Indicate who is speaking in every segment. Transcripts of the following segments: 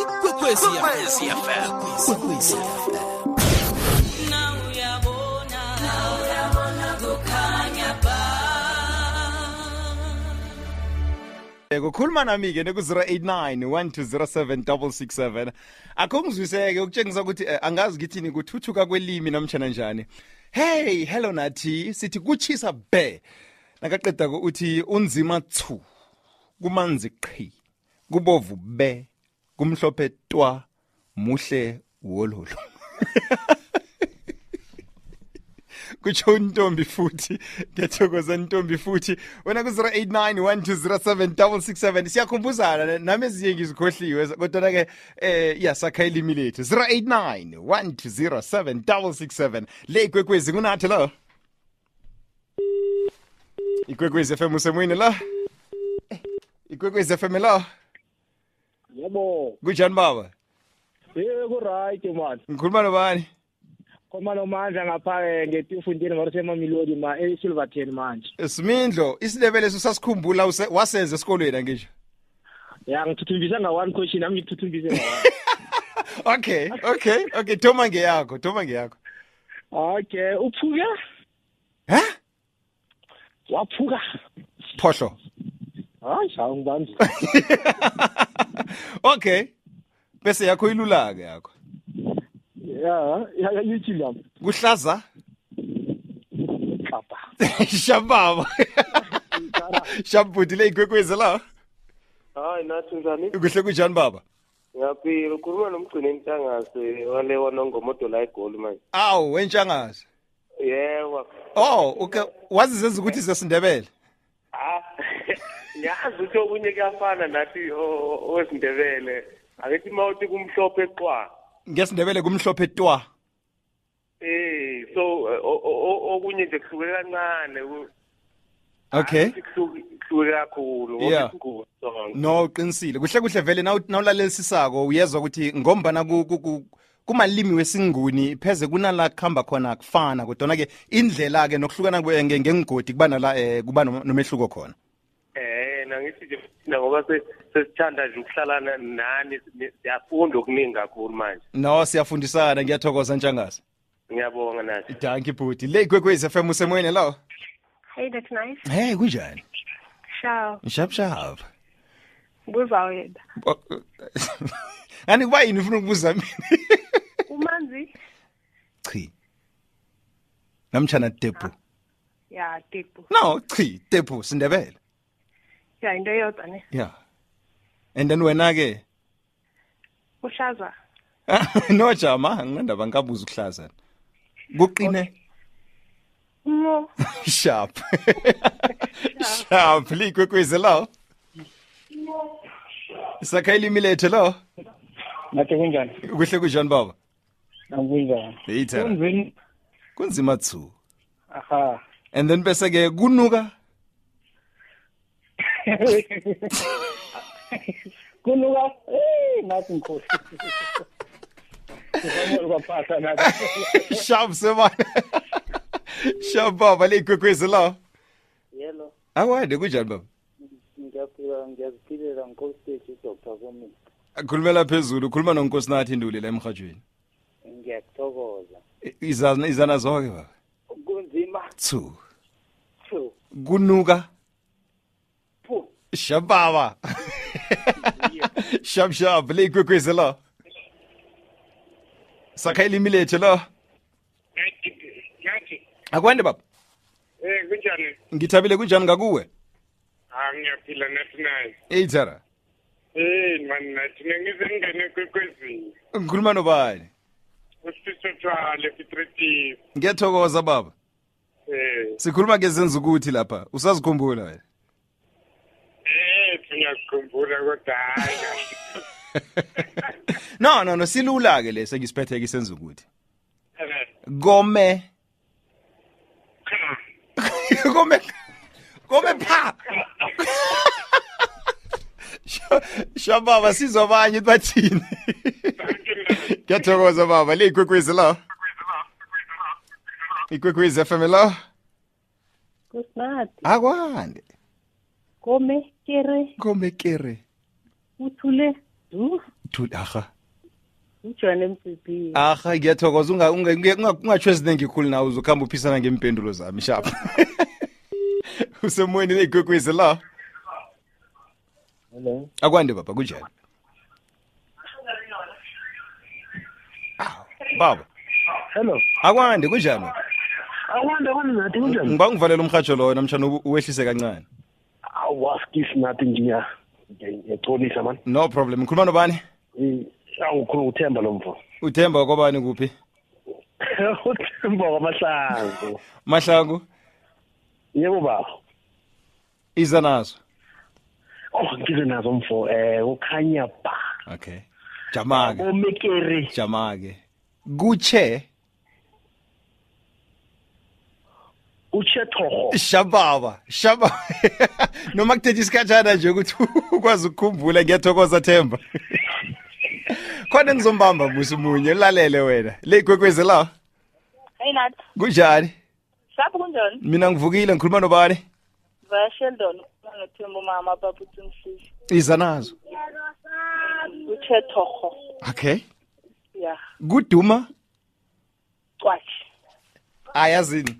Speaker 1: ikwekwezi fm Ikwekwezi FM.
Speaker 2: Eh, kukhuluma nami-ke neku-089 1207667 akho ngizwiseke ukutshengisa ukuthi eh, angazi ngithini kuthuthuka kwelimi namtshana njani hey hello nathi sithi kutshisa be nakaqeda-ko uthi unzima thu kumanzi qhi kubovu be kumhlophe twa muhle wololo kutsho untombi futhi ngiyathokoza ntombi futhi wena ku-089 1207667 siyakhumbuzana na- nami ezinye ngizikhohliwe kodwana-ke um yasakha ilimi lethu 089 1207667 le ikwekwezi kunathi la ikwekwezi fm usemoyini la Eh, ikwekwezi fm la
Speaker 3: yebo
Speaker 2: kunjani baba
Speaker 3: eh kurayiti man
Speaker 2: ngikhuluma nobani
Speaker 3: khona nomandla ngapha-ke ngetifundeni ngabasemamilodi ma esilverton manje
Speaker 2: simindlo isilebele susasikhumbula use- wasenza esikolweni angisho
Speaker 3: ya ngithuthumbisa nga-one question nami ngithutumbise nga-one
Speaker 2: okay okay okay thoma ngeyakho thoma ngeyakho
Speaker 3: okay eh, uphuke
Speaker 2: he
Speaker 3: waphuka
Speaker 2: phohlo
Speaker 3: hayi hawu ngibambi
Speaker 2: okay bese yakho ilula-ke yakho
Speaker 3: ya ya- ya- yithi lami
Speaker 2: kuhlaza
Speaker 3: xaba
Speaker 2: shababa shabhuti le igwekwezi la
Speaker 4: hayi nathi njani
Speaker 2: kuhle kunjani baba
Speaker 4: ngiyaphila ukhuluma nomgcini emhlangase wale wanongomodo la egoli manje
Speaker 2: awu wentshangazi
Speaker 4: yebo
Speaker 2: oh okay wazizenza ukuthi zesindebele
Speaker 4: Ah, ngiyazi ukuthi okunye kuyafana nathi o- o- owesindebele akithi ma uthi kumhlophe eqwa
Speaker 2: ngesindebele kumhlophe twa
Speaker 4: Eh so eh, o- o- o- okunye nje kuhluke kancane ku-
Speaker 2: okay
Speaker 4: akuthi kuhluke kuhluke kakhulu
Speaker 2: Eh? Yeah.
Speaker 4: ngoba isiguli sonke
Speaker 2: no uqinisile kuhle kuhle vele nawu- nawulalelisisako uyezwa ukuthi ngombana ku- ku- ku- kumalimi wesinguni pheze kunala kuhamba khona kufana kodwana-ke indlela-ke nokuhlukana kwe- nge- ngengigodi kuba nala eh, kuba nom- nomehluko khona
Speaker 4: Eh nangithi nje thina ngoba se- sesithanda nje ukuhlala na- nani si- siyafunda okuningi kakhulu manje
Speaker 2: no siyafundisana ngiyathokoza ntshangase
Speaker 4: ngiyabonga nathi
Speaker 2: danki bhuti le ikwekwezi fm usemoyeni lawo
Speaker 5: Hey, that's nice.
Speaker 2: hey kunjani
Speaker 5: Ciao.
Speaker 2: mshapshap
Speaker 5: Buza wena.
Speaker 2: ani kuba yini ufuna ukubuza mina
Speaker 5: Umanzi?
Speaker 2: chi namtshana tepu
Speaker 5: Ya, tipu.
Speaker 2: no chi tepu sindebele
Speaker 5: Ya, into eyodwa ne.
Speaker 2: yeah and then wena-ke
Speaker 5: Ushaza.
Speaker 2: no jama nginandaba ngikabuza ukuhlazana kuqine
Speaker 5: No.
Speaker 2: sharp sharp likwekwezi lo sakha ilimi lethu lo
Speaker 3: nathi kunjani
Speaker 2: kuhle kunjani baba
Speaker 3: nakunjani
Speaker 2: eyithera
Speaker 3: kunzini
Speaker 2: kunzima two
Speaker 3: aha
Speaker 2: and then bese-ke kunuka
Speaker 3: kunuka eh nathi ngikhosi Ngizamela ukwaphatha nathi
Speaker 2: sharp sebana sharp baba leyikwekwezi lo
Speaker 6: yelo
Speaker 2: akwade kunjani baba
Speaker 6: ngiyaphila ngiyaziphilela ngikositeshi udoktor kumina
Speaker 2: khulumela phezulu khuluma nonkosinathi nduli la emhatshweni
Speaker 6: ngiyakuthokoza
Speaker 2: izana izana zonke baba
Speaker 6: kunzima
Speaker 2: two
Speaker 6: thu
Speaker 2: kunuka
Speaker 6: phu
Speaker 2: shababa shab shab le ikwekwezi la sakha ilimi lethu la
Speaker 4: yathi
Speaker 2: akwande baba
Speaker 4: eh kunjani
Speaker 2: ngithabile kunjani ngakuwe
Speaker 4: ah ngiyaphila nathi naye
Speaker 2: eyithara
Speaker 4: eh mani nathi nengize ngingene kwekwezini
Speaker 2: ngikhuluma nobani
Speaker 4: usifiso twale fitretis
Speaker 2: ngiyathokoza baba
Speaker 4: eh
Speaker 2: sikhuluma ke zenza ukuthi lapha usazikhumbula wena
Speaker 4: eh singakukhumbula kodwa hayi kahle.
Speaker 2: no no no silula ke leso engisiphetheke senza ukuthi
Speaker 4: Eh,
Speaker 2: kome
Speaker 4: cha.
Speaker 2: kome kome pha Sha- shababa sizwa abanye ukuthi bathini
Speaker 4: Thank you, man.
Speaker 2: ngiyathokoza baba le ikwekwezi la ikwekwezi fm la
Speaker 5: Kusinati.
Speaker 2: akwande
Speaker 5: Kome kere
Speaker 2: komekere
Speaker 5: uthule zu
Speaker 2: Thuli aha.
Speaker 5: ujohane mbibi
Speaker 2: Aha ngiyathokoza unga unga- unge- unga- ungatsho eziningi khulu nawe uzokhamba uphisana ngempendulo zami shap. Usemweni neyigwegwezi la.
Speaker 6: hello
Speaker 2: Akwande baba kunjani? Aw, Baba,
Speaker 3: hello Mm-hmm.
Speaker 2: akwande kunjani?
Speaker 3: awande kwani nathi kunjani
Speaker 2: Ngiba ngivalela umhajo loyo namtshana ube- uwehlise kancane.
Speaker 3: awaskisi Ah, nathi ngiya ngiyatholisa mani
Speaker 2: No problem. Ngikhuluma nobani?
Speaker 3: angikhulu uthemba lo mvo
Speaker 2: Uthemba kwabani kuphi?
Speaker 3: uthemba kwamahlangu
Speaker 2: Mahlangu
Speaker 3: yebo baba
Speaker 2: iza nazo.
Speaker 3: oh ngize nazo mfo eh ukhanya ba
Speaker 2: Okay. Jamake.
Speaker 3: omekere
Speaker 2: jamake kuche
Speaker 3: uchetoho
Speaker 5: Oh.
Speaker 2: shababa shababa noma kuthethe isikhatshana nje ukuthi ukwazi ukukhumbula ngiyathokoza themba khona ngizombamba busi munye lalele wena le igwekwezi la
Speaker 5: hey nat
Speaker 2: kunjani
Speaker 5: sapho kunjani
Speaker 2: mina ngivukile ngikhuluma nobani
Speaker 5: vasheldon nothemba umama ababuthi umsizi
Speaker 2: iza nazo
Speaker 5: utshetorho
Speaker 2: okay
Speaker 5: ya
Speaker 2: kuduma Ah,
Speaker 5: cwashi
Speaker 2: ayazini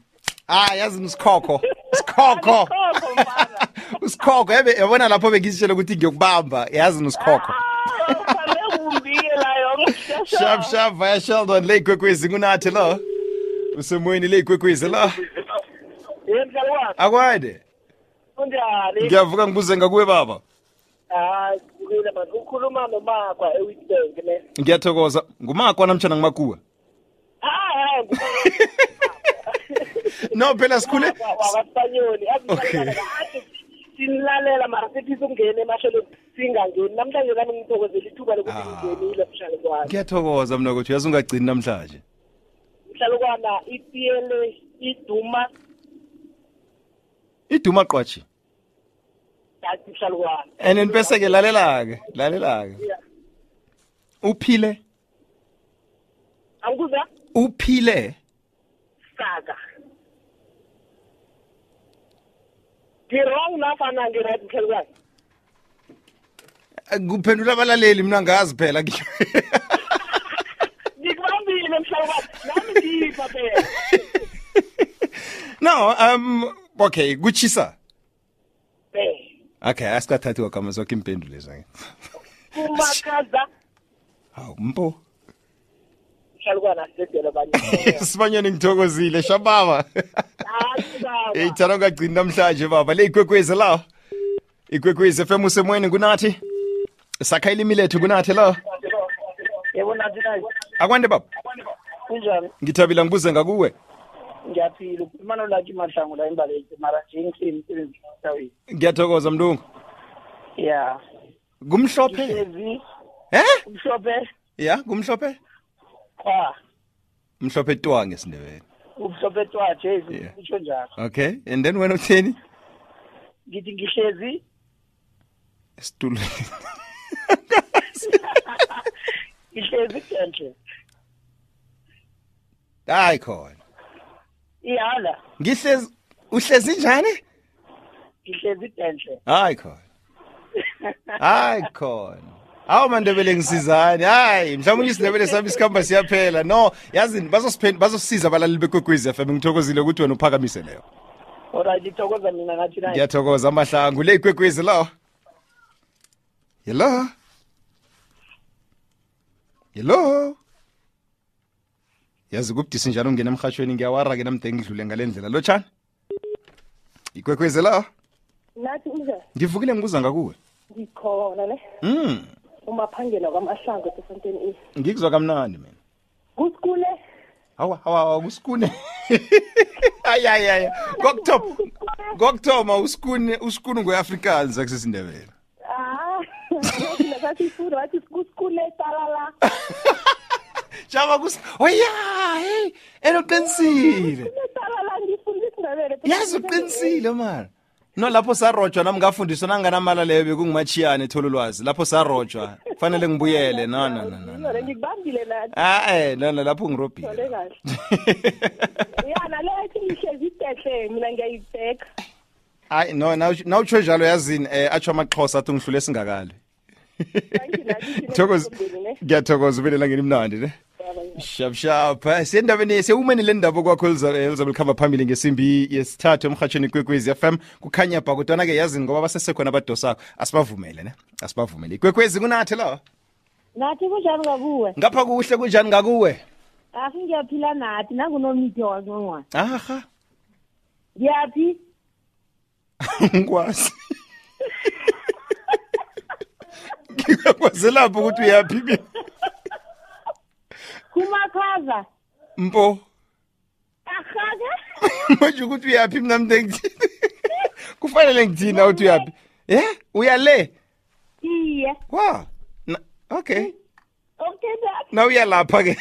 Speaker 2: ayazini sikhokho sikhokho
Speaker 5: Usikhokho, mfana.
Speaker 2: usikhokho yabe- yabona lapho bengizitshela ukuthi ngiyokubamba yazini usikhokho
Speaker 5: uhambe kumbiye la
Speaker 2: shap shap via sheldon le igwekwezi kunathi lo usemweni le igwekwezi lo
Speaker 6: yenzalwa
Speaker 2: akwande
Speaker 6: kunjani
Speaker 2: ngiyavuka ngibuze ngakuwe baba
Speaker 6: hayi kulile man ukhuluma nomakwa ewitbank ne
Speaker 2: ngiyathokoza ngumakwa namtshana ngumakuwa
Speaker 6: hayi
Speaker 2: no phela sikhule
Speaker 6: wakasanyoni
Speaker 2: Okay.
Speaker 6: sinilalela mara sithi singene emasheleni singangeni namhlanje kami ngithokozela ithuba lokuthi
Speaker 2: Ah.
Speaker 6: ngingenile mhlalo kwami
Speaker 2: ngiyathokoza mna kuthi uyazi ungagcini namhlanje
Speaker 6: mhlalo kwana itiele iduma
Speaker 2: iduma qwatshi
Speaker 6: dathi mhlalo kwana
Speaker 2: and then bese-ke lalela-ke lalela-ke
Speaker 6: Yeah.
Speaker 2: uphile
Speaker 6: angikuza
Speaker 2: uphile
Speaker 6: saka ngirong nafana ngiright mhlalo kwana
Speaker 2: kuphendula abalaleli mna ngazi phela
Speaker 6: ngikubambile mhlalo kwana nami ngipha phela
Speaker 2: no um okay kuchisa
Speaker 6: Eh,
Speaker 2: okay asikathathi kwagama zonke impendulo ezake
Speaker 6: kumakhaza
Speaker 2: hawu mpo
Speaker 6: mhlalo kwana sedela abanye
Speaker 2: sibanyane ngithokozile shababa
Speaker 6: Hayi, baba.
Speaker 2: eyi thana ungagcini namhlanje baba le ikwekwezi la ikwekwezi fm usemweni kunathi sakha ilimi lethu kunathi la
Speaker 6: yebo nathi nayi
Speaker 2: akwande baba
Speaker 6: kunjani
Speaker 2: ngithabile ngibuze ngakuwe
Speaker 6: ngiyaphila ukhuluma nolaki mahlangu la embaleki mara nje ngihleli msebenzi sawini
Speaker 2: ngiyathokoza mlungu
Speaker 6: ya
Speaker 2: kumhlophe
Speaker 6: ezi
Speaker 2: eh
Speaker 6: umhlophe
Speaker 2: ya kumhlophe
Speaker 6: qwa
Speaker 2: mhlophe twa ngesindebele
Speaker 6: umhlophe twa jezi
Speaker 2: Yeah.
Speaker 6: kutsho njalo
Speaker 2: okay and then wena utheni
Speaker 6: ngithi ngihlezi
Speaker 2: Stool.
Speaker 6: ngihlezi tenhle
Speaker 2: hayi khona
Speaker 6: ihala
Speaker 2: ngihlezi uhlezi njani
Speaker 6: ngihlezi tenhle
Speaker 2: hayi khona hayi khona hawu mandebele ngisizani hayi mhlawumbe isindebele sami isikhamba siyaphela no yazini bazosiphen- bazosisiza abalali bekwekwezi fm ngithokozile ukuthi wena uphakamise leyo
Speaker 6: olright ngithokoza mina nathi nayi
Speaker 2: ngiyathokoza amahlangu le ikwekwezi lawa hello hello yazi kubudisi njalo ungena emhatshweni ngiyawara-ke namde ngidlule ngale ndlela lotshani ikwekwezi lawa
Speaker 5: nathi uza
Speaker 2: ngivukile ngibuza ngakuwe
Speaker 5: ngikhona ne
Speaker 2: mm
Speaker 5: umaphangela kwamahlango esefonteni i
Speaker 2: ngikuzwa kamnandi mina
Speaker 5: kusikule
Speaker 2: hawa hawa hawa usikune ayayaya kokuthoma kokuthoma usikune usikune ngoafrikaans akusesindebele
Speaker 5: ah nathi ifunda wathi kusikule talala
Speaker 2: shaba kus oya hey elo qinisile
Speaker 5: talala ngifunda isindebele
Speaker 2: yazi uqinisile mara no lapho sarojwa nami ngafundiswa nanganamala leyo bekungumachiyane ethola ulwazi lapho sarojwa kufanele ngibuyele no no no, no
Speaker 5: Yona,
Speaker 2: no
Speaker 5: ngikubambile nathi
Speaker 2: ah eh no no lapho
Speaker 5: Ngithole
Speaker 2: ngirobhile
Speaker 5: kahle yana le athi ngihlezi itehle mina ngiyayibheka
Speaker 2: eh, hayi no nawutsho njalo yazini um atsho amaxhosa athi ngihlule singakali Thokoza. Ngiyathokoza ubele langeni mnandi ne. Shap shap. Sendabeni sewumeni le ndaba kwakho eliza- elizabe likhamba phambili ngesimbi yesithathu emhatshweni kwekwezi FM kukhanya bha kodwana ke yazini ngoba basesekhona abadosako asibavumele ne asibavumele ikwekwezi kunathe la
Speaker 5: nathi kunjani ngakuwe
Speaker 2: ngapha kuhle kunjani ngakuwe
Speaker 5: afi ngiyaphila nathi nangunomithi wazincongwana
Speaker 2: aha
Speaker 5: ngiyaphi
Speaker 2: ngikwazi ngikakwazelapho ukuthi uyaphi mina
Speaker 5: kumakhaza
Speaker 2: mpo
Speaker 5: akhaza
Speaker 2: manje ukuthi uyaphi mina mntu engithini kufanele ngithini na ukuthi uyaphi ye uyale
Speaker 5: iye
Speaker 6: é.
Speaker 2: wa Na- okay
Speaker 5: okay that
Speaker 2: na uyalapha ke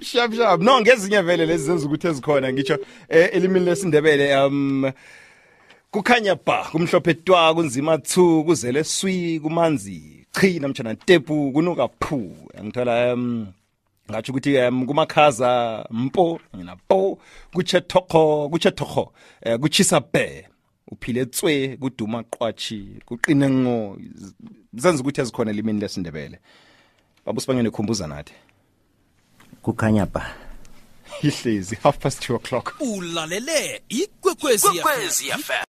Speaker 2: shap shap no ngezinye vele lezi zenza ukuthi ezikhona ngitsho eh, elimini lesindebele um kukhanya ba kumhlophe twa kunzima two kuzele swi kumanzi chi namtshana tepu kunuka phu ngithola um ngatsho ukuthi um kumakhaza mpo ngina po kuchetokho kuchetokho eh, kuchisa be uphile tswe kuduma qwatshi kuqine ngo Z- zenza ukuthi ezikhona elimini lesindebele baba usibangene khumbuza nathi
Speaker 7: kukhanya ba
Speaker 2: ihlezi half past two o'clock
Speaker 1: ulalele ikwekwezi FM